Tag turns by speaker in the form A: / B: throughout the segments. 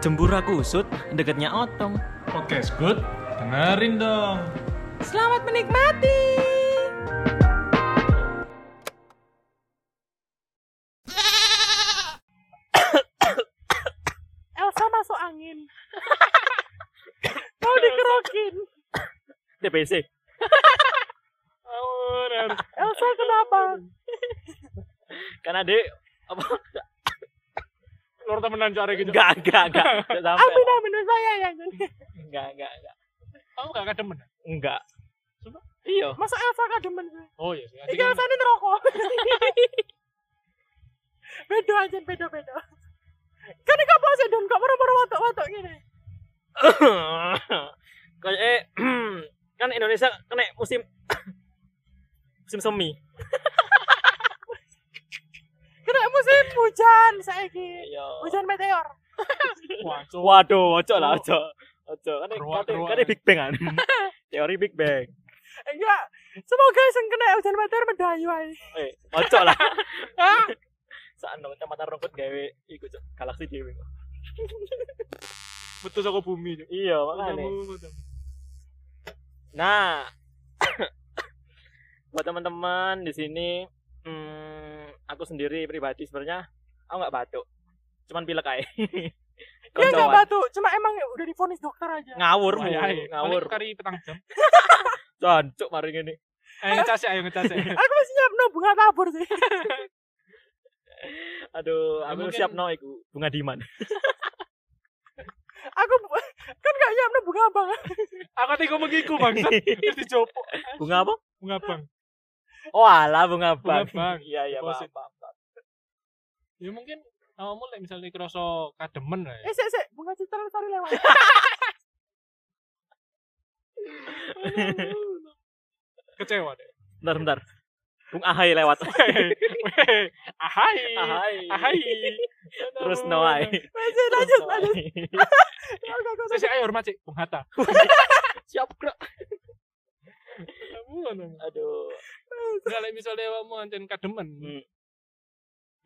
A: Jembur aku usut, deketnya otong.
B: Podcast good, dengerin dong.
C: Selamat menikmati. Elsa masuk angin. Kau dikerokin.
A: DPC.
C: Elsa kenapa?
A: Karena dek apa?
B: Lur temenan cari gitu.
A: Enggak, enggak, enggak. Enggak sampai.
C: Amin amin saya ya.
A: Enggak, enggak, enggak.
B: Kamu gak kademen?
A: Enggak.
B: Sumpah?
A: Iya.
C: Masa Elsa kademen sih?
B: Oh iya sih.
C: Iki Elsa ini ngerokok. Beda aja, beda-beda. Kan ini kapal sih, Don. Kok moro-moro watuk-watuk gini?
A: Kayak eh, kan Indonesia kena musim musim semi.
C: Kena musim hujan saiki.
A: Iya.
C: Hujan meteor.
B: Waduh.
A: Waduh, ojo lah ojo. Ojo kan
B: Keruak,
A: kate
B: keruak.
A: kate Big Bang kan. Teori Big Bang.
C: Enggak. Semoga sing kena hujan meteor mendayu ae.
A: Eh, ojo lah.
B: Ah!
A: Saat nol kacamata rongkut gawe iku cok galaksi dhewe.
B: Betul aku bumi. Cuk.
A: Iya, makane.
B: Betul, betul.
A: Nah, buat teman-teman di sini, hmm, aku sendiri pribadi sebenarnya aku nggak batuk, cuman pilek aja.
B: Iya,
C: Dia enggak
A: Koncoan.
C: batuk, Iya, cuma emang udah difonis dokter aja.
A: ngawur
B: Wah,
A: Bu.
B: ya, ya.
A: ngawur.
B: Paling kan- kari petang jam.
A: Cancuk mari ngene.
B: Ayo ngecas ya, ayo ngecas ya.
C: Aku masih nyiap no bunga tabur sih.
A: Aduh,
B: Ya,
A: aku
B: mungkin-
A: siap no iku. Bunga Diman.
C: Aku bu- kan enggak nyiap no bunga Eh, abang.
B: Aku tadi ngomong iku bangsa. Terus dijopok.
A: bunga apa?
B: Bunga bang.
A: Oh, alah bunga
B: Bunga
A: bang.
B: bang.
A: Iya, iya, paham,
B: Deposit.
A: paham. paham.
B: Ya mungkin kamu lek misalnya kroso kademen lah ya.
C: Eh, sik sik, bunga citra lestari lewat.
B: Kecewa deh.
A: Bentar, bentar. Bung Ahai lewat.
B: Ahai. Ahai.
A: Ahai. Terus Noai.
C: Masih lanjut lanjut. Enggak kok.
B: Saya ya, ayo hormat sih, Bung Hatta.
A: Siap, Bro.
B: Kamu ngono.
A: Aduh.
B: Enggak Nah, lek misalnya awakmu anten kademen.
A: Hmm.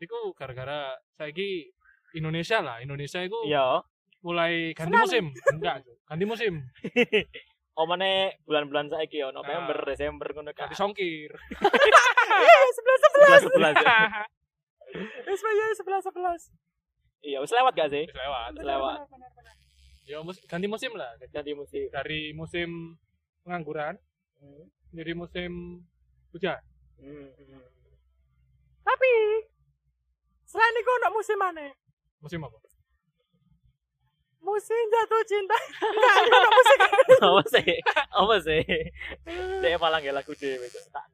B: Iku gara-gara saiki Indonesia lah, Indonesia itu
A: Iya.
B: mulai ganti
C: Senang.
B: musim. Enggak, Cuk. ganti musim.
A: Omane bulan-bulan saiki ya November,
B: Nah.
A: Desember ngono kan.
B: Ganti songkir.
C: Eh, sebelas sebelas.
A: 11
C: Wis ya sebelas sebelas.
A: Iya, wis lewat gak sih?
B: Terus lewat.
A: Bener. Lewat.
B: Ya mus- ganti musim lah.
A: Ganti musim.
B: Dari musim pengangguran
A: Hmm.
B: jadi musim hujan.
A: Hmm.
C: Tapi selain itu ada musim mana?
B: Musim apa?
C: Musim jatuh cinta. Enggak, itu ada musim.
A: Apa sih? Apa sih? Dek malah nggak lagu dhewe Cok. Tak.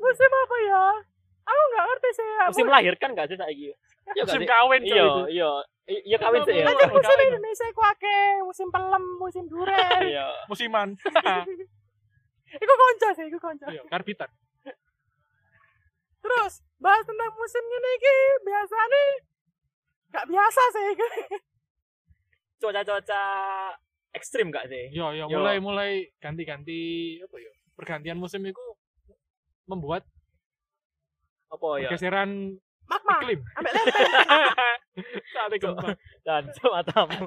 C: Musim apa ya? Aku enggak ngerti sih. ya.
A: Musim melahirkan gak sih saiki? Iya gak
B: Musim
A: sih?
B: kawin Cuk,
A: Iya,
B: itu.
A: iya. I- Iya kawin sih ya.
C: Nanti
B: Kawin,
C: musim
B: kawin.
C: Indonesia ku ake, musim pelem, musim duren.
A: Iya.
B: Musiman.
C: Iku konco sih, iku konco.
B: Iya, karbitan.
C: Terus bahas tentang musim ini iki biasanya enggak biasa sih.
A: Cuaca-cuaca ekstrim gak sih?
B: Yo yo
A: Yo.
B: Iya, mulai mulai ganti-ganti apa ya? Pergantian musim itu membuat
A: Apa ya?
B: pergeseran
C: Magma.
B: iklim.
C: Ambek lempeng.
B: Saat gempa.
A: Dan coba matamu.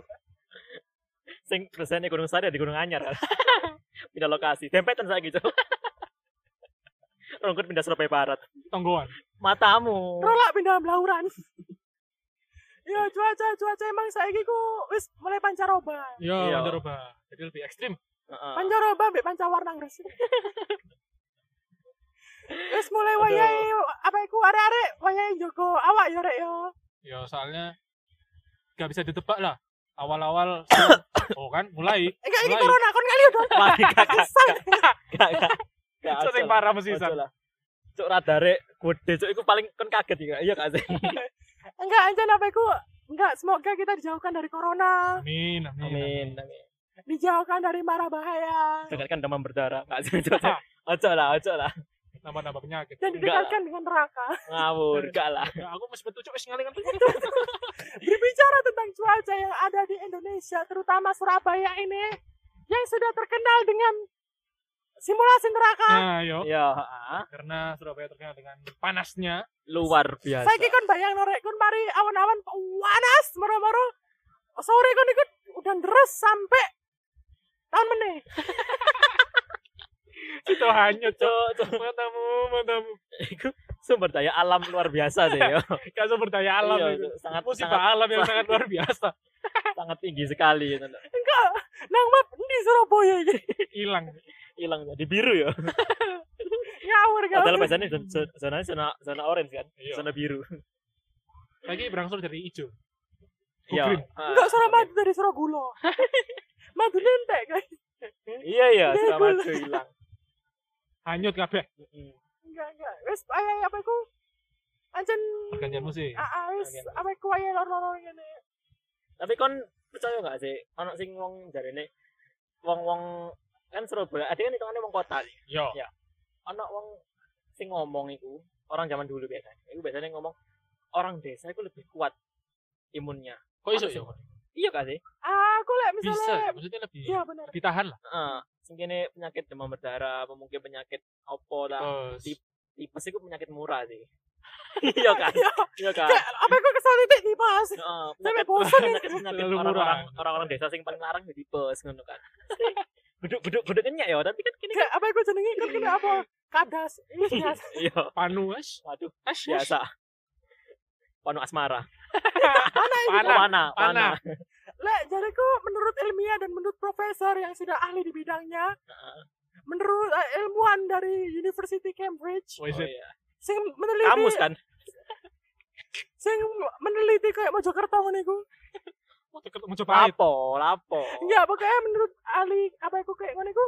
A: Sing desainnya Gunung Sari di Gunung Anyar kan. Pindah lokasi. Dempetan saiki, Cok. Rungkut pindah Surabaya Barat.
B: Tonggoan.
A: Matamu.
C: Rolak pindah belauran. Ya cuaca cuaca emang saiki ku wis mulai pancaroba.
B: Yo,
A: Iya.
B: Pancaroba. Jadi lebih ekstrim.
A: Heeh.
C: Pancaroba mbek pancawarna ngres. Wis mulai
A: Aduh.
C: wayahe apa iku arek-arek wayahe Joko awak yo rek yo.
B: Ya soalnya nggak bisa ditebak lah. Awal-awal sih, oh kan mulai.
C: Eh kayak ini
B: Mulai.
C: corona kon kali yo dong.
A: Lagi kakak.
C: Kesel.
A: Gak, gak. Gak,
B: Itu sing
A: ojo lah.
B: parah mesti
A: Ojo
B: San.
A: lah. Cuk radare gede cuk iku paling kon kaget ya. Iya gak sih?
C: Enggak anjan apa iku enggak semoga kita dijauhkan dari corona,
B: Amin, amin.
A: Amin. amin.
C: dijauhkan dari mara bahaya
A: Dekatkan kan demam berdarah. Gak sih cuk. Cuk. Ojo lah, ojo lah.
B: Nambah-nambah penyakit.
C: dan
A: Enggak
C: didekatkan dengan neraka.
A: Ngawur gak lah.
B: gitu. Ya, aku mesti betul cuk wis ngalingan tuh.
C: Berbicara tentang cuaca yang ada di Indonesia, terutama Surabaya ini, yang sudah terkenal dengan simulasi neraka.
B: Nah, yo.
A: Ya, heeh.
B: Karena Surabaya terkenal dengan panasnya.
A: luar biasa.
C: Saya kan bayang norek kun mari awan-awan panas moro-moro sore kan ikut udah deres sampai tahun meneh.
B: Itu hanyut, Cok.
A: Cuk, cuk.
B: Matamu, matamu.
A: Iku sumber daya alam luar biasa sih ya. yo.
B: Gak sumber daya alam
A: Iya,
B: itu.
A: itu sangat-
B: Musibah alam yang sangat luar biasa.
A: Sangat tinggi sekali itu.
C: Enggak, nang map di Surabaya ini
B: Hilang.
A: Hilang jadi biru ya.
C: ngawur kan.
A: Padahal biasanya zon- zon- zona zona zona orange kan,
B: Iya.
A: zona biru.
B: Lagi berangsur dari hijau.
A: Iya.
B: Oh, Green.
A: Ah,
C: Enggak suara
A: oke.
C: madu dari suara gula. madu nentek guys.
A: Iya iya,
C: Dari
A: suara
C: gula.
A: madu hilang.
B: Hanyut kabeh.
A: Mm-mm.
C: Enggak, enggak. Wis ayo ayo, apa iku? Anjen
B: Pergantian musim.
C: ah ah, wis
A: Pergantian.
C: apa iku ayo lor-lor ngene.
A: Tapi kon percaya nggak sih, ono sing wong jarene wong-wong kan Surabaya, ada kan hitungannya wong kota sih.
B: Yo.
A: Ono wong sing ngomong iku, orang zaman dulu biasanya. Iku biasanya ngomong orang desa iku lebih kuat imunnya.
B: Kok iso yo?
A: Iya gak sih?
C: Ah, aku lek
B: Bisa, ya.
C: misalnya
B: maksudnya lebih
C: Iya bener.
B: lebih tahan lah.
A: Heeh. Sing kene penyakit demam berdarah, apa mungkin penyakit opo lah.
B: Terus,
A: Nah, Di- Tipes iku penyakit murah sih. iya kan?
C: Ya,
A: Iya kan?
C: Kayak, apa iku kesel titik dibahas.
A: Heeh.
C: Sampai
A: penyakit-
C: bosan ya.
A: penyakit penyakit
B: Terlalu
A: orang-orang
B: murah.
A: orang-orang desa sing paling larang jadi tipes ngono kan. Beduk beduk beduk kenyek ya, tapi kan kene
C: Kayak apa iku jenenge kan kena apa? Kadas. Iya.
A: iya.
B: panu es.
A: Waduh,
B: Es, es.
A: biasa. Panu asmara. Nah, Oh,
B: Panah.
A: Panah,
B: panah.
A: panah.
C: Lek jariku menurut ilmiah dan menurut profesor yang sudah ahli di bidangnya,
A: Heeh.
C: menurut eh, ilmuwan dari University Cambridge,
A: Oh,
B: Wes, eh.
A: iya.
C: sing meneliti
A: Kamus kan.
C: sing meneliti kayak Mojokerto ngene iku.
B: Mau deket mau coba air.
A: Lapo, lapo.
C: Iya, pokoknya menurut ahli apa iku kayak ngene iku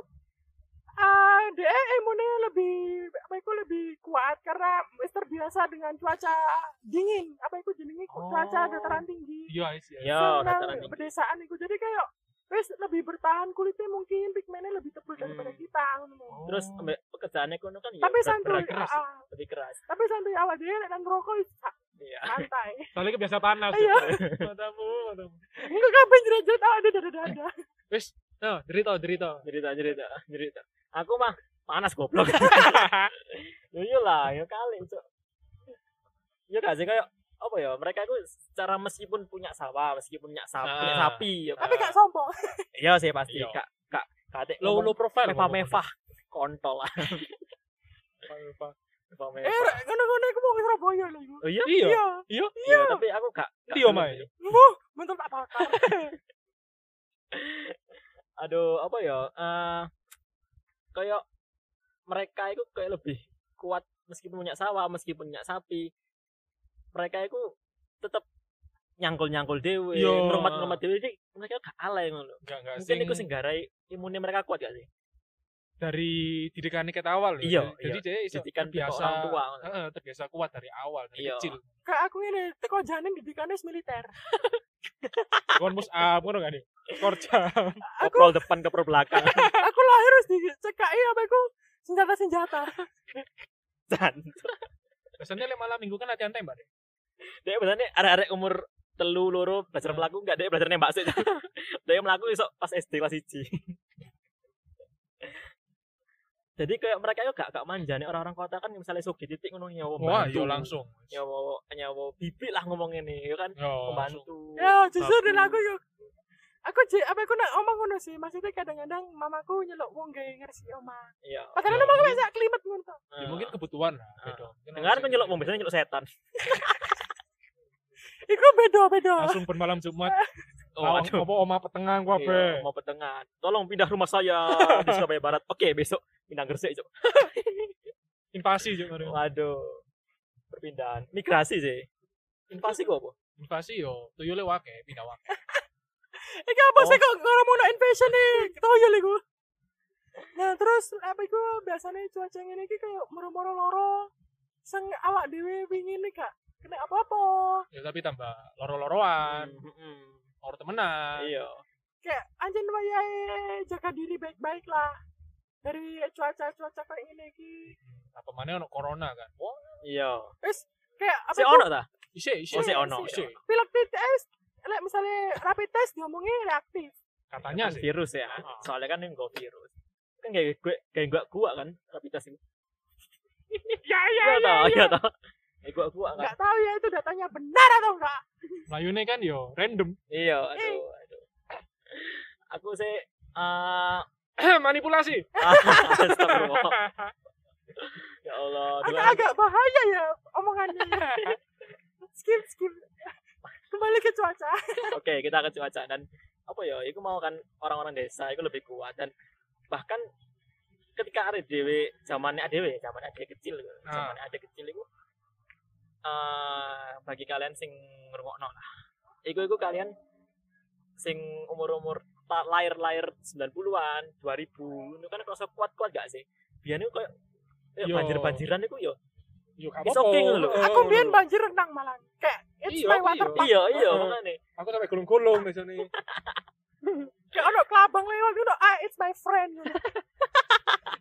C: eh dia ilmunya lebih apa iku lebih kuat karena wis terbiasa dengan cuaca dingin apa iku jenenge
B: Oh.
C: cuaca dataran tinggi
B: Iya, es, ya.
A: Iya,
C: Senang
A: dataran tinggi.
C: pedesaan iku jadi kayak wis lebih bertahan kulitnya mungkin pigmennya lebih tebal daripada
A: Hmm.
C: kita ngono.
A: Terus ambil pekerjaannya kono kan ya
C: tapi
A: berat-
C: santuy
A: berat keras,
C: ah,
A: lebih keras.
C: tapi santuy awal dia nek nang rokok is-
A: Iya.
C: santai
B: soalnya kebiasaan panas.
C: Iya.
B: Matamu, matamu.
C: enggak kabeh jerit-jerit awal dia dada-dada
B: Wes, no, derita, derita.
A: Cerita, cerita, cerita. Aku mah panas goblok. Yo yo lah, yo kali itu. Yo gak sih kayak apa ya? Mereka itu secara meskipun punya sawah, meskipun punya sapi,
B: Ah.
A: punya sapi ya.
C: tapi gak sombong
A: Iya sih pasti.
B: Iya.
A: Kak, kak, kate
B: Low low profile.
A: mewah-mewah kontol lah.
B: Mewah.
A: Mewah-mewah.
C: eh ngono-ngono iku mau ke Surabaya lho iku
A: Oh iya,
B: Iya.
C: iya
A: iya, tapi aku gak. gak
B: Iya,
A: seneng
B: Mai.
A: sih.
C: Wuh, bentar tak bakar.
A: aduh apa ya eh kayak mereka itu kayak lebih kuat meskipun punya sawah meskipun punya sapi mereka itu tetap nyangkul nyangkul dewe
B: Yo.
A: ngerumat ngerumat dewe jadi mereka gak alay ngono
B: Enggak, enggak.
A: mungkin
B: Sing
A: itu sing garai imunnya mereka kuat gak sih
B: dari didikannya kita awal. ya.
A: Iya,
B: Jadi dia iso
A: didikan teko
B: terbiasa.
A: orang tua ngono.
B: Heeh, terbiasa kuat dari awal, dari
A: Iya.
B: kecil.
C: Kayak aku ini teko janin didikannya wis militer.
B: Kon mus up ngono kan. Korja.
C: Aku
A: Obrol depan ke belakang
C: aku lahir harus dicekai apa aku senjata-senjata.
A: dan
B: Biasanya lek malam minggu kan latihan tembak. deh.
A: dia benernya arek-arek umur telu loro belajar melaku enggak dia belajar nembak sih dia melaku iso pas SD kelas 1 jadi kayak mereka yo gak gak manja nih orang-orang kota kan misalnya sogi titik ngono nyawa
B: Wah,
A: bantu.
B: yo langsung.
A: nyawa nyawa bibi lah ngomong ini yo kan
B: Yo. Oh, langsung.
A: membantu
C: Ya, jujur dan
A: Tapi-
C: aku yuk. Aku je, apa aku nak omong ngono sih. Maksudnya kadang-kadang mamaku nyelok wong gawe ngersi oma.
A: iya
B: Ya,
C: Padahal emang aku
B: mungkin-
C: sak klimat ngono. to.
B: Ya, mungkin kebutuhan lah.
A: Ah.
B: beda. Mungkin
A: dengar
B: langsung-
A: kan nyelok mau biasanya nyelok setan
C: Iku beda-beda.
B: Langsung bermalam Jumat.
A: oh,
B: Oh,
A: aduh
B: apa oma petengang gua
A: Iya,
B: be.
A: mau petengan tolong pindah rumah saya di Surabaya Barat oke besok pindah Gresik Cuk.
B: Invasi juga ada.
A: waduh perpindahan migrasi sih invasi kok apa
B: Invasi yo, tuyule wake, pindah wake.
C: Iki apa sih
A: Oh.
C: kok ngomong nak invasion nih? Toyol iku. Nah, terus apa iku biasanya cuaca ngene iki kayak moro-moro loro. Sing awak dhewe wingi nih Kak. Kena apa-apa.
B: Ya tapi tambah loro-loroan,
A: Mm, mm, mm.
B: loro temenan.
A: iya
C: kayak iya, anjir wayahe jaga diri baik-baik lah dari cuaca-cuaca kayak gini ki
B: Apa mana ono corona kan. Wah,
A: iya
C: wis kayak apa
A: si
C: itu,
A: ono ta
B: isih isih.
A: Oh, sih ono.
B: Isih.
C: pilek tes lek misalnya rapid test diomongnya reaktif
B: Katanya sih.
A: virus ya
B: Heeh.
A: soalnya kan enggak virus kan kayak gue kayak gue gua kan rapid test ini
C: ya ya
A: iya
C: ya
A: tau iya tau kayak gua gua kan
C: nggak tahu ya itu datanya ya, benar atau enggak
B: Melayune kan yo random.
A: Iya, aduh, aduh. Aku sih eh
B: Manipulasi.
A: astagfirullah. Ya Allah, dulu aku-
C: Agak-agak bahaya ya omongannya. skip, skip. Kembali ke cuaca.
A: Oke, kita ke cuaca dan apa ya, itu mau kan orang-orang desa itu lebih kuat dan bahkan ketika ada dewe zamannya adewe zaman ade kecil
B: Ah.
A: zaman ade kecil itu eh bagi kalian sing ngrungokno lah iku iku kalian sing umur-umur ta- lahir-lahir 90-an 2000 itu kan kerasa kuat-kuat gak sih biyen itu kayak kayak
B: Yo.
A: banjir-banjiran itu yo
B: Yo gak
A: It's
B: apa-apa.
A: okay gitu ngono lho.
B: Eh,
C: Aku biar
B: ngono lho.
C: banjir renang malah. Kayak, it's
B: Iya,
C: my
B: iya.
C: waterpark.
A: iya iya
B: Heeh.
A: makane
B: Aku sampai gulung-gulung di sini.
C: Kayak ono kelabang lewat, ono, ah, it's my friend.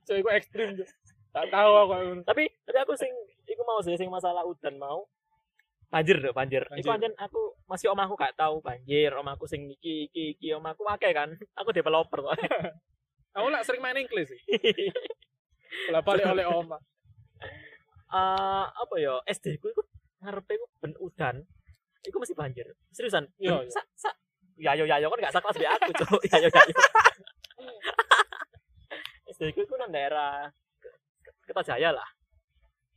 B: Cewek gue ekstrim. Cuk. Tak tahu aku. kayak ngono.
A: tapi tapi aku sing iku mau sih sing masalah udan mau banjir deh banjir. Iku
B: Banjir.
A: anjen aku masih om aku gak tahu banjir, om aku sing iki iki iki om aku akeh kan. Aku developer kok.
B: Aku lah sering main Inggris sih. Lah balik oleh oma.
A: Eh, apa ya SD ku iku ngarepe ku ben udan. Iku mesti banjir. Seriusan.
B: Iya,
A: Ben-
B: iya.
A: Sa, sa, ya yo ya yo kan gak sekelas be aku, Cuk. Ya yo ya yo. SD ku iku nang daerah Kertajaya lah.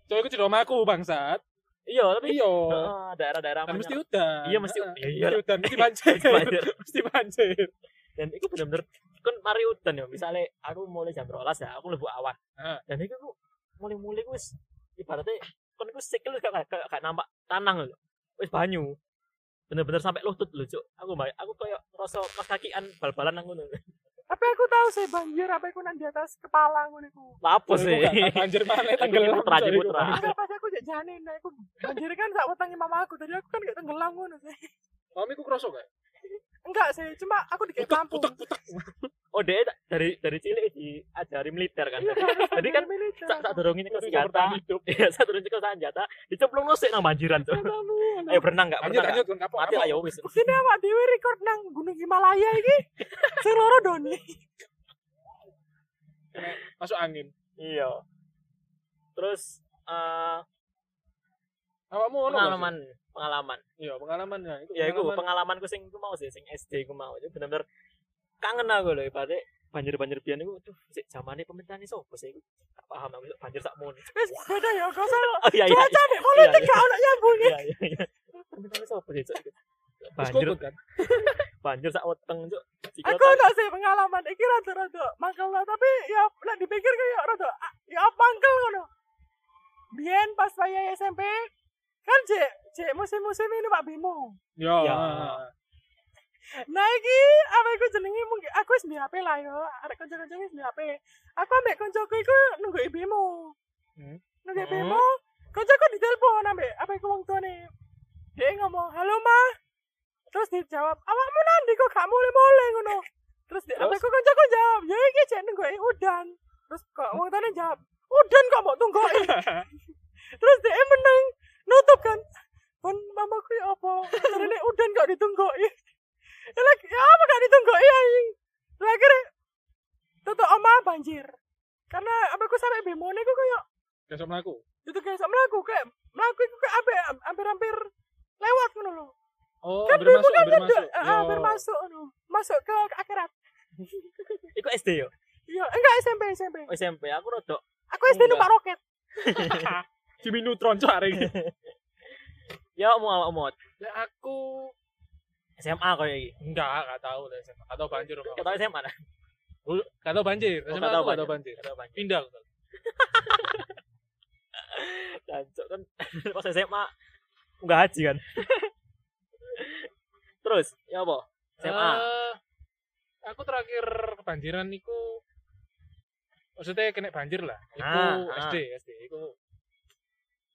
B: Cewek gue cedok aku bangsat.
A: Iya, tapi
B: Iya.
A: eh, daerah-daerah
B: Kan
A: mana-
B: mesti udah.
A: Iya, mesti
B: Heeh.
A: iya, iya.
B: Mesti udah. Mesti banjir.
A: Mesti banjir.
B: Mesti banjir.
A: dan itu bener-bener kan mari udan ya misalnya aku mulai jam 12 ya aku lebu awan
B: Heeh.
A: dan itu aku mulai-mulai aku wis ibaratnya kan aku sikil wis gak, gak, gak, gak nampak tanang lho wis banyu bener-bener sampai lutut lho cuk aku mbak aku kayak ngerasa kos kakian bal-balan nang ngono
C: Tapi aku tahu sih banjir, apa aku nang di atas kepala ngono iku.
A: lapo
B: Cewek
A: sih
B: gue gak- Banjir mana tenggelam.
A: putra
B: cewek gue.
A: putra
C: Tapi pas aku jak jane nah aku banjir kan sak wetangi mama aku. Tadi aku kan gak tenggelam ngono sih.
B: Mami ku kerosok gak?
C: Enggak sih, cuma aku dikek kampung.
B: putek, putek.
A: oh dia tak- dari dari cilik diajari militer kan
C: Iya,
A: Tadi kan
C: militer.
A: sak sak dorongin ke
B: Itu yang pertama
A: senjata
B: hidup.
A: iya sak dorongin ke senjata dicemplung lo sik nang banjiran cuk ayo berenang gak
B: Lanjut,
A: berenang
B: lanjut. Kon kapok.
A: mati
B: kapok.
A: lah ya wis
C: Ini awak dewe record nang Gunung Himalaya iki. Sing loro Doni.
B: Masuk angin.
A: iya terus eh
B: Awakmu ono gak sih?
A: pengalaman pengalaman
B: Iya, pengalaman ya. Itu
A: ya itu
B: pengalaman.
A: pengalamanku sing ku mau sih sing SD ku mau itu benar-benar kangen aku loh ibaratnya banjir-banjir biyen iku tuh sik zamane pemerintahane sopo sih iku gak paham aku sik banjir sakmono
C: Wis beda ya, gak usah.
A: oh iya iya
C: Cuaca mek politik
A: Iya, iya.
C: gak ono ya. nyambunge.
A: iya iya iya pemerintahane sopo sih Cuk?
B: Terus
A: banjir
B: kutut kan.
A: banjir sak weteng cuk Jika
C: Aku ono sih pengalaman iki rada-rada mangkel lah, tapi ya lek dipikir kayak rada ah, ya apa mangkel ngono. Biyen pas saya SMP kan jek jek musim-musim ini Pak Bimo.
B: Yo.
A: Ya.
C: Nah iki apa iku jenenge mungkin aku wis ndek HP lah yo, arek kanca-kanca wis ndek HP. Aku ambek kancaku iku nunggu ibemu.
B: Hmm.
C: Nunggu
B: Hmm.
C: ibemu, kancaku ditelepon ambek apa iku wong tuane. Dia ngomong, "Halo, Ma." Terus dijawab, "Awakmu nanti kok gak mulai-mulai ngono?" Terus di apa
A: Terus?
C: iku kancaku jawab, "Ya iki jek nunggu udan." Terus kok wong tuane jawab, "Udan kok mbok tunggoki." Terus dia meneng nutup kan. Kon mamaku ya apa? Carane udan gak ditunggoki. Ya lagi ya apa gak ditunggoki anjing. Lah akhirnya tutup oma banjir. Karena apa aku sampai bimone aku kayak
B: Besok melaku.
C: itu kayak sama aku kayak melaku aku kayak ampe- hampir-hampir lewat ngono lho.
B: Oh,
C: Kan
B: hampir
C: bimone
B: masuk,
C: kan
B: hampir
C: ada-
B: masuk. Oh.
C: ah,
B: Yo.
C: hampir masuk ngono. Masuk ke akhirat.
A: iku SD yo
C: Iya, enggak SMP SMP.
A: Oh, SMP aku rodok
C: Aku SD
A: Enggak.
C: numpak roket.
B: Jimmy Neutron Ah. cok hari ini.
A: ya mau awak mau
B: Lah aku
A: SMA koyo iki
B: enggak, enggak tahu lah SMA. Enggak tahu banjir rumah.
A: kata SMA nah
B: Enggak tahu banjir.
A: Oh,
B: SMA aku
A: nggak tahu
B: enggak tahu banjir.
A: kata banjir
B: Pindah aku.
A: dan Cuk, kan pas SMA enggak haji kan terus ya apa SMA
B: Eh, aku terakhir kebanjiran niku maksudnya kena banjir lah. Iku
A: Ah, ah.
B: SD, SD iku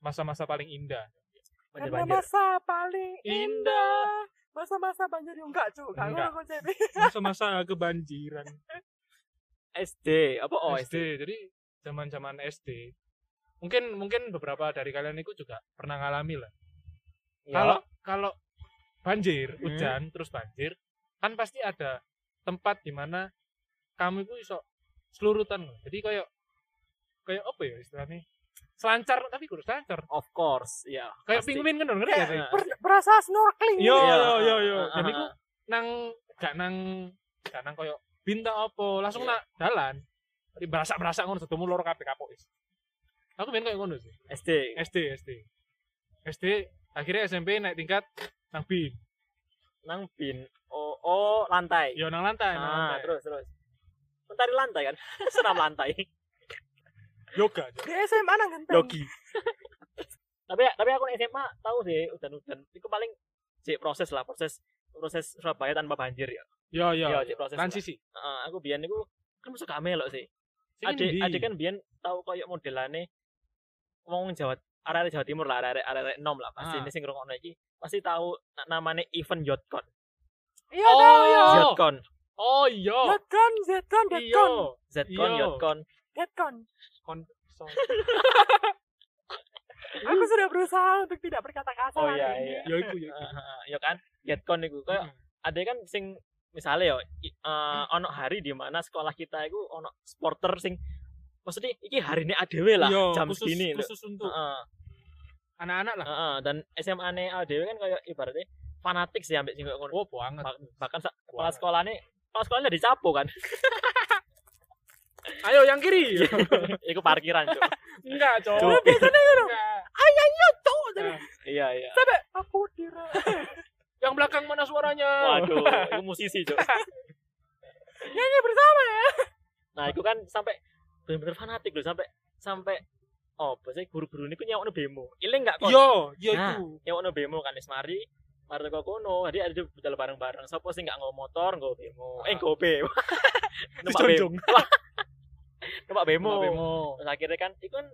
B: masa-masa paling indah.
A: banjir
C: Eh, Karena
A: banjir
C: masa paling
B: Indah.
C: indah. Masa-masa banjir yo enggak, Cuk. Enggak
B: Enggak.
C: ngono konsep.
B: Masa-masa kebanjiran.
A: SD apa oh
B: SD. Jadi zaman-zaman SD. Mungkin mungkin beberapa dari kalian itu juga pernah ngalami lah.
A: Ya.
B: Kalau kalau banjir,
A: Hmm.
B: hujan terus banjir, kan pasti ada tempat di mana kamu itu iso selurutan. loh. Jadi kayak kayak apa ya istilahnya? selancar tapi kudu selancar.
A: Of course, ya.
B: Kayak
A: pasti.
B: penguin kan ngerti gak sih?
A: Heeh.
C: Ber- berasa snorkeling
B: Yo
A: Iya.
B: yo yo yo.
A: Heeh.
B: Dan iku nang gak nang gak nang koyo bintang apa, langsung
A: Iya.
B: nak dalan. Tapi berasa-berasa ngono sedomo loro kabeh kapok wis. Aku main koyo ngono sih.
A: SD.
B: SD SD. SD akhirnya SMP naik tingkat nang bin.
A: Nang bin. Oh, oh lantai.
B: Yo nang Ya, lantai, nang
A: Ah,
B: lantai.
A: terus terus. Mencari lantai kan? Senam lantai.
B: yoga.
C: di SMA nang genteng
A: Yogi. tapi tapi aku nek SMA tahu sih udan-udan. Itu paling cek proses lah, proses proses Surabaya tanpa banjir ya.
B: Yo yo.
A: Iya, cek proses
B: Transisi.
A: Heeh, aku biyen niku kan masuk gamelok sih.
B: Sing
A: Adik
B: endi?
A: adik kan biyen tahu koyo modelane wong Jawa arek Jawa Timur lah, arek arek nom lah pasti
B: Ah.
A: ini sing ngrungokno iki pasti tahu na- namane event Yotkon.
C: iya
B: Oh,
C: tau
B: iya.
C: ya
B: Oh.
A: Yotkon,
B: Oh iya.
C: Zetkon Zetkon
B: Iya.
C: Zetkon
A: Zcon,
B: Iya.
A: Yotkon.
C: Zetkon
B: Kon so-
C: aku sudah berusaha untuk tidak berkata kasar
A: Oh
C: hari
A: iya
C: ini.
A: iya.
B: Yo iku yo.
A: Heeh, heeh, Ya kan? Yotkon niku koyo
B: Hmm.
A: ada kan sing misalnya yo i- eh, ono hari di mana sekolah kita itu ono sporter sing maksudnya iki hari ini adewe lah
B: Iya,
A: jam
B: khusus,
A: segini Ah. lho.
B: khusus untuk
A: Heeh,
B: anak-anak lah.
A: heeh. dan SMA ne adewe kan kayak ibaratnya fanatik sih ambek sing koyo ngono.
B: Oh, banget.
A: Bah- bahkan sa- kepala
B: Banget.
A: sekolahnya kepala sekolahnya udah dicapo kan
B: Ayo yang kiri.
A: iku parkiran Cuk.
B: Enggak, cowok.
A: Cuk.
B: Enggak.
C: Tuh, jadi
B: Nah,
A: iya iya
C: sampai aku dira
B: yang belakang mana suaranya?
A: waduh itu musisi Cuk.
C: nyanyi bersama ya
A: nah itu kan sampai bener-bener fanatik loh sampai sampai oh biasanya guru-guru ini ku nyawakno bemo iling nggak kon
B: Yo, yo Iya,
A: Nah.
B: itu.
A: ya ono bemo kan wis mari mari teko kono jadi ada budal bareng-bareng sapa sih nggak nggo motor nggo bemo eh nggo bemo numpak bemo
B: Dijonjong.
A: numpak bemo
B: Numpak bemo.
A: terus akhirnya kan iku kan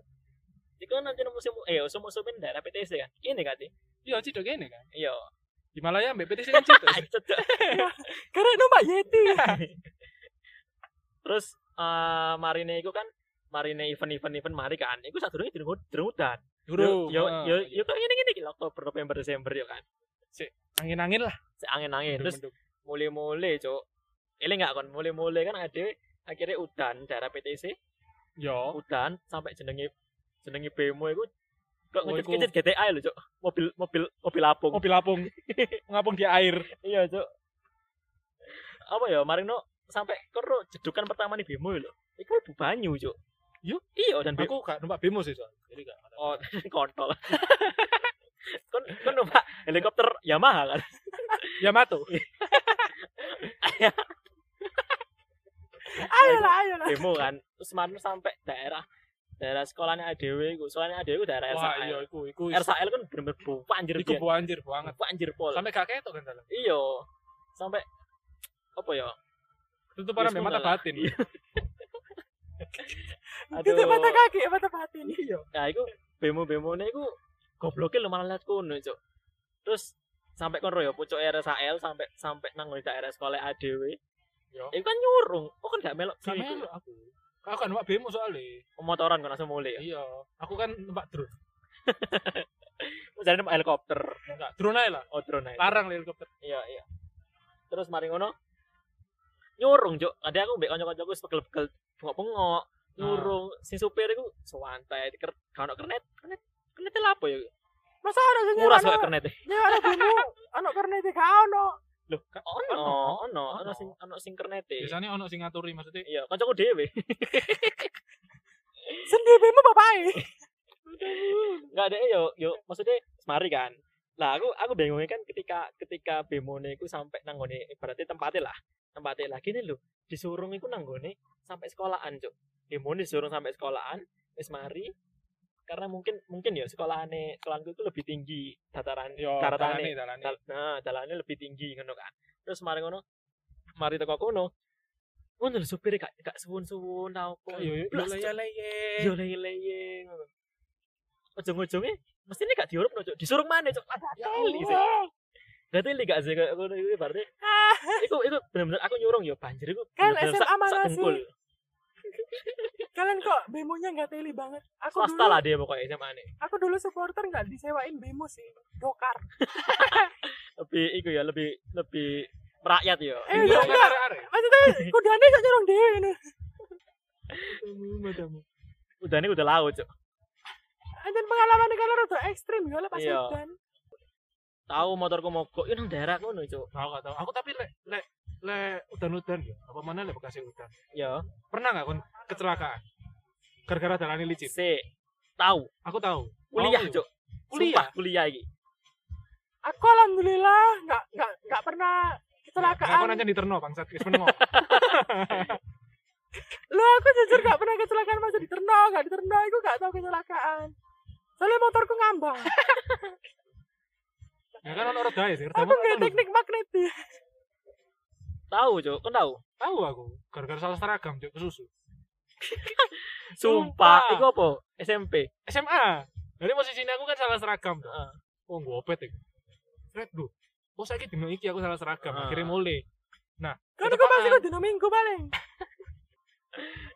A: iku kan nanti musim eh musim musim daerah PTC kan ini kan sih
B: Iya, cidok ini kan.
A: iya
B: Di Malaya Mbak PT sih kan cidok.
A: Acet, Cuk.
C: karena nomor Yeti
A: Iya. terus eh marine iku kan marine event-event event mari kan iku sadurunge durung durung udan
B: Dulu.
A: yo yo
B: iya.
A: yo kok ngene-ngene iki lho, Oktober November Desember yo kan
B: angin-angin lah.
A: Sik angin-angin terus mulai-mulai cok ini nggak kon mulai-mulai kan ada akhirnya udan daerah PTC
B: yo.
A: udan sampai jenenge jenenge bemo itu kok
B: Oh,
A: ngecet
B: iku.
A: ngecet GTA lho cok mobil mobil mobil apung
B: Mobil lapung. Ngapung di air.
A: iya cok apa ya maring no sampai kero jedukan pertama nih bemo lho itu ibu banyu cok
B: Yo.
A: iya dan bemo
B: Aku gak numpak bemo sih soalnya. Jadi gak.
A: oh, kontol kon kon numpak helikopter Yamaha kan
B: Yamato.
A: Iya,
C: ayolah ayolah
A: bemo kan terus maring sampai daerah daerah sekolahnya ADW iku sekolahnya ADW iku daerah
B: Wah,
A: RSAL.
B: iya iku iku.
A: RSAL kan bener-bener bau anjir
B: Iku bu anjir banget.
A: anjir pol.
B: Sampai gak ketok kan dalam.
A: Iya. Sampai apa ya?
B: Tutup para
A: Wis,
B: mata
A: ngono lah.
B: batin.
A: Iya.
C: itu mata kaki mata batin
B: Iya.
A: Nah, iku bemo-bemone iku gobloke lu malah liat kono, Cuk. Terus sampai kon ya pucuk RSAL sampai sampai nang di daerah sekolah ADW.
B: Yo.
A: Iku kan nyurung. Oh kan gak melok
B: Sama
A: sini.
B: aku. Aku kan numpak bemo soalnya.
A: Motoran kan langsung mulai.
B: Iya. Aku kan numpak drone.
A: Jadi numpak Iya. helikopter.
B: Enggak, drone aja lah.
A: Oh drone aja.
B: Larang lah helikopter.
A: Iya, iya. Terus mari ngono. Nyurung, Cuk. Kadang aku mbek kanca-kancaku wis pegel-pegel bengok-bengok. Nyurung. Si supir iku sewantai, ker, gak ono kernet, kernet. Kernet lapo ya?
C: masa ada sih
A: Murah
C: nyewa
A: soalnya kernet.
C: nyewa ada bumbu anak karena tiga ono
A: Loh,
B: Ka-
A: ono, ono,
B: ono.
A: ono sing ono sing kernete.
B: Biasanya ono sing ngaturi maksudnya
A: Iya, kancaku dhewe.
C: sendiri bumbu bapak
A: Enggak ada yo yo maksudnya semari kan. Lah aku aku bingungnya kan ketika ketika bemone iku sampai nang ngone berarti tempatnya lah. Tempatnya lagi nih lho, disuruh iku nang ngone sampai sekolahan, Cuk. Bemone disuruh sampai sekolahan, wis mari karena mungkin mungkin ya sekolahane sekolahanku itu lebih tinggi dataran
B: yo
A: daratane
B: dalane dalane.
A: Dal- nah jalannya lebih tinggi ngono kan terus mari ngono mari teko kono ngono lho supir gak gak suwun-suwun ta opo
B: Yo yo
A: Blas,
B: yo leye.
A: yo leye-leye ngono ujung-ujungnya mesti ini gak diurupno cuk disuruh mana cuk ada
C: Ya
A: teli sih
B: Iya,
A: gak teli gak sih kayak ngono iku berarti
C: ah
A: iku iku bener-bener aku nyurung yo banjir iku
C: Kan SMA
A: bener-bener sak- sak
C: mana sih?
A: dengkul.
C: kalian kok bemonya nggak teli banget aku
A: swasta
C: dulu
A: lah dia pokoknya SMA ne
C: aku dulu supporter nggak disewain bemo sih dokar
A: lebih iku ya lebih lebih merakyat yo
C: Eh,
B: Yo
C: iya.
B: arek-arek.
C: maksudnya kudanya gak nyerong dewi ini
B: Matamu.
A: udah ini udah laut cuk
C: pengalaman kalau rada ekstrim ya lah pas
A: Iya.
C: udan.
A: Tahu motorku mogok yo nang daerah ngono, Cuk.
B: Tahu gak tahu. Aku tapi lek lek lek udan-udan ya. Apa mana lek Bekasi udan.
A: Yo,
B: Pernah gak kon kecelakaan? Gara-gara dalane licin.
A: sik. Tahu.
B: Aku tahu.
A: Kuliah,
B: Tahu.
A: Cuk.
B: Kuliah?
A: Sumpah, kuliah iki.
C: Aku alhamdulillah nggak nggak nggak pernah
B: Aku
C: kecelakaan.
B: nanya di terno bangsat wis menengok.
C: Lo aku jujur nggak pernah kecelakaan masih di Terno, nggak di Terno, aku nggak tahu kecelakaan. Soalnya motorku ngambang.
B: Ya kan ono roda ya, sih.
C: aku nggak teknik magnetik.
A: Tahu, Cuk. Kan tahu.
B: Tahu aku. Gara-gara salah seragam, Cuk, kesusu.
A: Sumpah,
B: Sumpah.
A: iku apa? SMP.
B: SMA. Jadi posisi ini aku kan salah seragam. Heeh. Oh, gua opet iku. Fred, duh. Oh, saiki dino iki aku salah seragam,
A: Ah.
B: akhirnya mulai.
C: Kan aku
B: Ketepaan.
C: masih kudu minggu paling.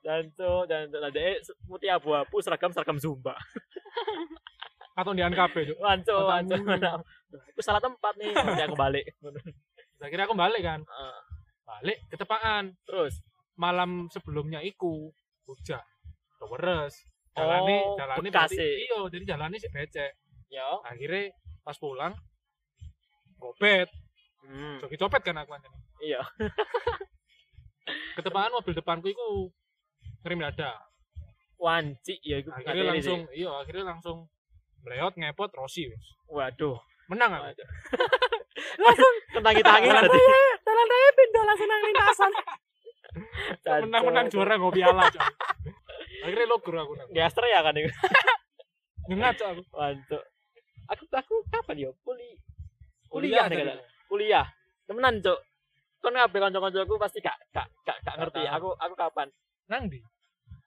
A: Dan Cuk, dan dan dek putih abu-abu seragam-seragam Zumba.
B: Atau di ANKP, Cuk.
A: Wanco,
B: Matamu.
A: wanco. Nah, Aku salah tempat nih, nanti aku balik.
B: Terus Akhirnya aku balik kan.
A: Heeh.
B: Balik ketepaan.
A: Terus
B: malam sebelumnya iku hujan terus jalani
A: Oh,
B: jalani
A: bekas
B: berarti
A: e.
B: iya jadi jalani sih becek Ya.
A: yo.
B: akhirnya pas pulang copet
A: Hmm.
B: joki copet kan aku anjani
A: Iya.
B: ketepaan mobil depanku iku ngerim dada
A: Wanci ya iku
B: akhirnya
A: ngateli
B: langsung
A: sih.
B: iya akhirnya langsung meleot ngepot rosi wis
A: waduh.
B: menang aku
C: Langsung
A: Kentangi-tangi tadi.
C: raya, jalan raya pindah langsung nang lintasan.
B: menang menang juara ngopi ala Cok. akhirnya logor aku nang
A: Gaster ya kan iku.
B: nyengat Cok, aku
A: Waduh. Aku aku kapan yo kuli kuliah nih
B: tadi.
A: kan. Kuliah. Temenan, Cuk. Kon kabeh kanca-kancaku pasti gak gak gak, gak ngerti
B: tahu.
A: aku aku kapan.
B: nang di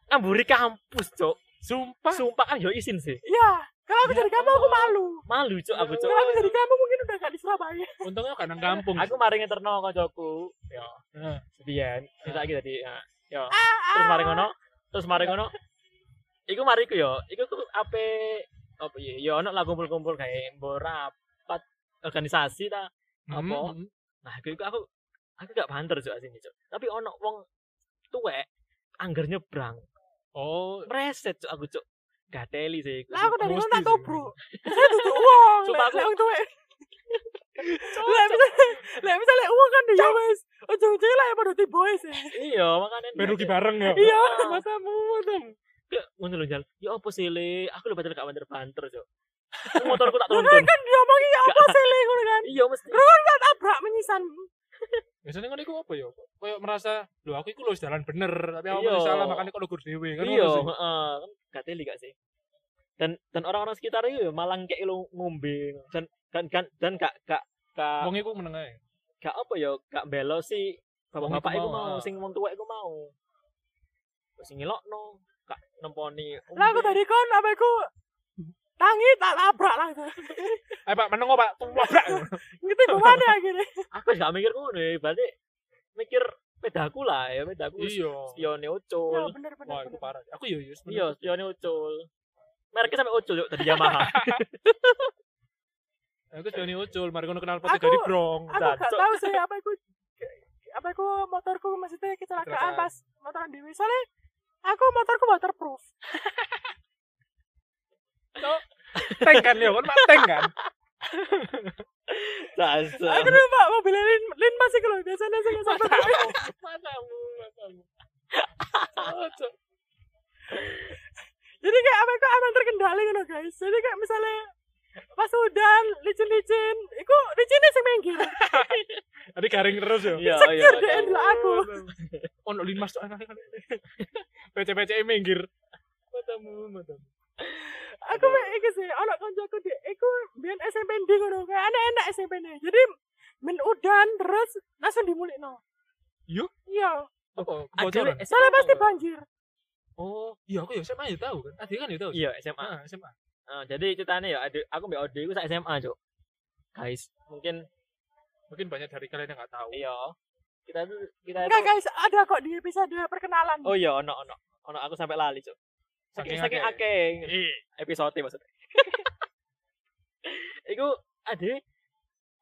A: Ngamburi kampus, Cuk.
B: sumpah
A: Sumpah kan yo izin sih.
C: Iya. Kalau
B: Ya
C: aku jadi kamu aku
B: Allah.
C: malu.
A: Malu, Cuk, aku, Cuk.
C: Kalau aku jadi kamu mungkin udah gak di Surabaya.
B: untungnya kan nang kampung
A: Aku mari ngeterno kancaku. Yo,
B: Heeh.
A: sepian. Kita iki tadi. ah, Yo.
C: Ah, ah.
A: terus mari ngono terus mari ngono iku mari ku yo iku ku ape apa ya yo ono lah kumpul-kumpul kayak mbok rapat organisasi ta Apa?
B: Hmm.
A: nah iku iku aku aku gak banter juga sini cok tapi ono wong tuwek anggar nyebrang
B: oh
A: preset cok aku cok gateli sih iku.
C: Lah aku dari ngono
B: Mesti
C: tak
B: sih.
C: tubruk. Saya duduk uang.
A: Sumpah,
C: Lek
A: aku-
C: lek wong tuwek.
A: Cuk,
C: Lek
A: cok.
C: bisa lek bisa lek uang kan ya wes. Ujung-ujungnya lah ya pada tiba sih.
A: iya makanya
B: Main rugi bareng ya.
C: Iya.
B: Matamu, matamu.
A: Ya, ngono lho jal ya apa sih le aku lho padahal gak banter-banter cok motorku tak tonton
C: Kan kan dia mau iya apa sih lek ngono kan.
A: iya mesti
C: Tabrak menyisan.
B: Biasanya kan iku apa ya? Kayak merasa, lho aku iku lho wis jalan bener, tapi aku
A: Iya.
B: masih salah makanya kok lugur dhewe kan.
A: iya
B: ngono sih.
A: heeh kan gak teli gak sih dan dan orang-orang sekitar itu ya malah kayak lo ngombe dan kan kan dan gak gak gak
B: Wong iku meneng ae.
A: gak apa ya gak belo si bapak-bapak
B: Wong iku
A: itu
B: mau,
A: mau
B: ah.
A: sing wong tua itu mau terus ngelokno gak nemponi
C: Lah aku tadi kon apa aku tangi tak labrak lah.
B: Eh Pak, meneng kok, Pak. Wabrak.
A: Iya.
C: Ngerti gimana akhirnya?
A: aku gak mikir ngono ya berarti mikir pedaku lah ya pedaku
B: Iya.
A: spione
C: Ya
A: ucul
C: bener bener.
B: Wah, iku
C: bener.
B: parah. Aku yo yo.
A: iya spione ucul mereknya sampai ucul yuk tadi Yamaha
B: Aku sudah ucul, mari ngono kenal peti
C: Aku-
B: dari brong.
C: aku
A: Dan,
C: gak
A: Cok.
C: tahu sih apa aku apa aku motorku maksudnya kecelakaan
B: Kecelakaan.
C: pas motoran dewi soalnya aku motorku waterproof
B: Tank kan ya, kan Pak, tank kan.
A: dasar
C: aku dulu pak mobilnya lin lin masih kalau biasanya sih nggak sampai
B: Matamu, matamu.
C: jadi kayak apa aku aman terkendali gitu guys jadi kayak misalnya pas udan licin licin aku licinnya sih minggir
B: Tadi garing terus ya? yo.
A: iya
C: Sekir deh dulu aku
B: Ono limas tuh anak. Pece-pece minggir. Matamu, matamu.
C: aku kayak iki sih anak kancaku di aku biar SMP di gitu kayak enak enak SMP nya jadi men udan terus langsung dimulai no
B: Yuk.
C: iya
B: Apa?
A: Akhirnya
B: Kebocoran.
C: soalnya pasti
A: apa?
C: banjir
B: Oh, iya aku ya SMA ya tahu kan. Adik kan ya tahu.
A: iya SMA
B: Ah, SMA.
A: Eh, jadi ceritanya ya, adik- aku mbak Ode itu sak SMA, Cuk. Guys, mungkin
B: Mungkin banyak dari kalian yang nggak tahu.
A: iya. Kita tuh kita
C: Enggak
A: itu
C: guys, ada kok di episode perkenalan.
A: Oh iya, ono ono. Ono aku sampai lali, Cuk. Saking saking
B: akeh.
A: akeh
B: Iya.
A: episode maksudnya. iku ade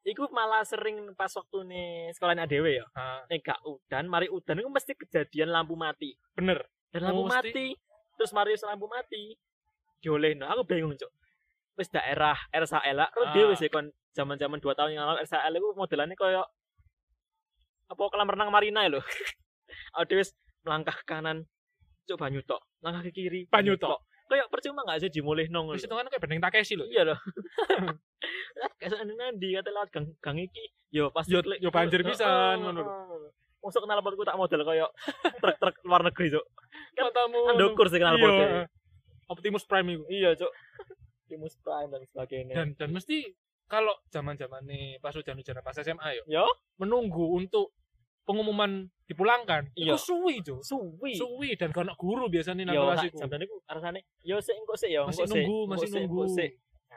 A: iku malah sering pas waktu nih sekolahan adewe ya.
B: Ah,
A: Nek gak udan, mari udan iku mesti kejadian lampu mati.
B: bener.
A: Dan
B: Oh,
A: lampu
B: mesti.
A: mati, terus mari lampu mati. diolehno. Aku bingung, Cuk. Wis daerah RSAL, aku
B: Ah.
A: dhewe sih kon zaman-zaman 2 tahun yang lalu RSAL iku modelane koyo apa kolam renang Marina ya, lho. Aku dhewe wis melangkah kanan, Cuk banyu tok. Langkah ke kiri,
B: Banyu tok.
A: Koyo percuma gak sih dimulihno ngono.
B: Wis hitungan kan kayak bening Takeshi lho.
A: Iya loh. Lah kayak nang nanti kata lewat gang gang iki, yo pas
B: Yo- yo banjir pisan, ngono
A: ngono
B: lho.
A: lho. Masuk knalpotku tak model koyo truk-truk luar negeri, Cuk. Kan
B: Matamu.
A: Andokur sih knalpotnya.
B: Iya. Optimus Prime itu.
A: Iya, Cuk. Timus Prime dan sebagainya.
B: Dan dan mesti kalau zaman-zaman nih pas hujan-hujan pas SMA yo ya,
A: yo
B: menunggu untuk pengumuman dipulangkan.
A: Iya.
B: Itu suwi, Iya, Jo.
A: suwi.
B: Suwi dan kalau anak guru biasanya nang
A: Yo
B: kelas
A: sak
B: iku.
A: sampean iku arasane yo sik engko sik yo,
B: Masih
A: engko sik.
B: nunggu,
A: engko
B: masih
A: sik, engko
B: nunggu.
A: sik.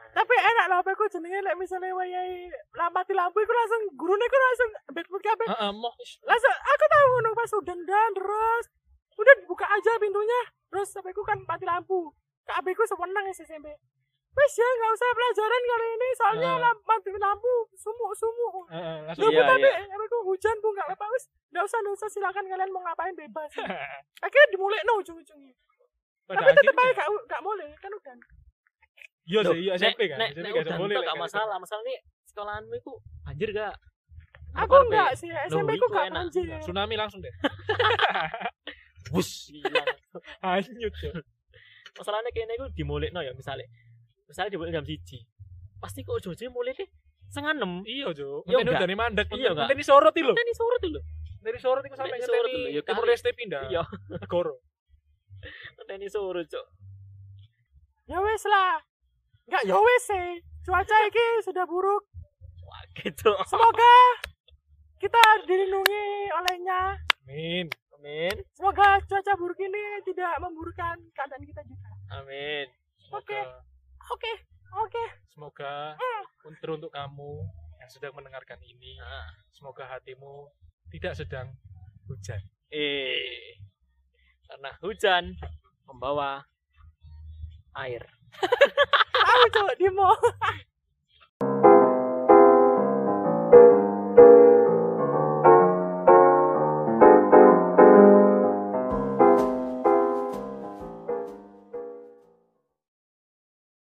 C: Tapi enak lah apa aku jenenge lek misale wayahe lah mati lampu iku langsung gurune iku langsung bedbook kabeh.
B: Heeh, moh. Ish,
C: Langsung aku tahu ngono pas udan dan terus udah buka aja pintunya. Terus sampai aku kan mati lampu. Kabeh ku sewenang SMP. Wes ya enggak usah pelajaran kali ini soalnya
B: Ah.
C: lam- mati lampu sumuk-sumuk.
B: heeh,
C: Lu
B: langsung
A: Iya,
C: iya, tapi
A: iya.
C: apa ku hujan bu nggak apa-apa wis nggak usah nggak usah silakan kalian mau ngapain bebas. Akhirnya dimulai no ujung-ujungnya.
B: pada
C: Tapi tetep aja
B: akhirnya.
C: nggak nggak boleh kan udan.
B: Iya
A: Loh,
B: sih, iya
A: nek-
B: SMP kan.
A: Nek
B: SMP
A: nek
B: gak
A: udah
B: boleh.
A: boleh
B: lek,
A: gak
B: kayak
A: masalah, masalah nih sekolahanmu iku banjir gak?
C: Aku
A: Apa, Pe?
C: enggak sih SMP ku
A: itu
C: nggak
A: enak.
C: banjir.
B: gitu. Tsunami langsung deh.
A: Bus hilang.
B: Hanyut, Jo.
A: masalahnya kayaknya gue dimulai no ya misalnya misalnya dimulai jam siji pasti kok ujung-ujungnya mulai deh setengah enam
B: Iya, Jo.
A: Iya,
B: Ngenteni
A: enggak?
B: udane mandek.
A: Iya, enggak?
B: Ngenteni sorot iki lho.
A: kan ini sore tuh loh
B: Dari sorot iku sampe
A: Ngenteni sorot lho,
B: ngenteni
A: ya
B: Timur
A: kali.
B: Leste pindah.
A: iya
B: Negoro.
A: kan ini sore cok
C: Ya wes lah. Enggak ya wes sih. Cuaca iki sudah buruk.
A: wah gitu
C: Semoga kita dilindungi olehnya.
B: Amin.
A: amin
C: Semoga cuaca buruk ini tidak memburukkan keadaan kita juga.
A: amin
C: Oke.
B: Semoga-
C: Oke, oke.
B: Semoga
C: Hmm.
B: untuk untuk kamu yang sedang mendengarkan ini,
A: Ah.
B: semoga hatimu tidak sedang hujan.
A: eh karena hujan membawa air
C: Tahu cowok Dimo.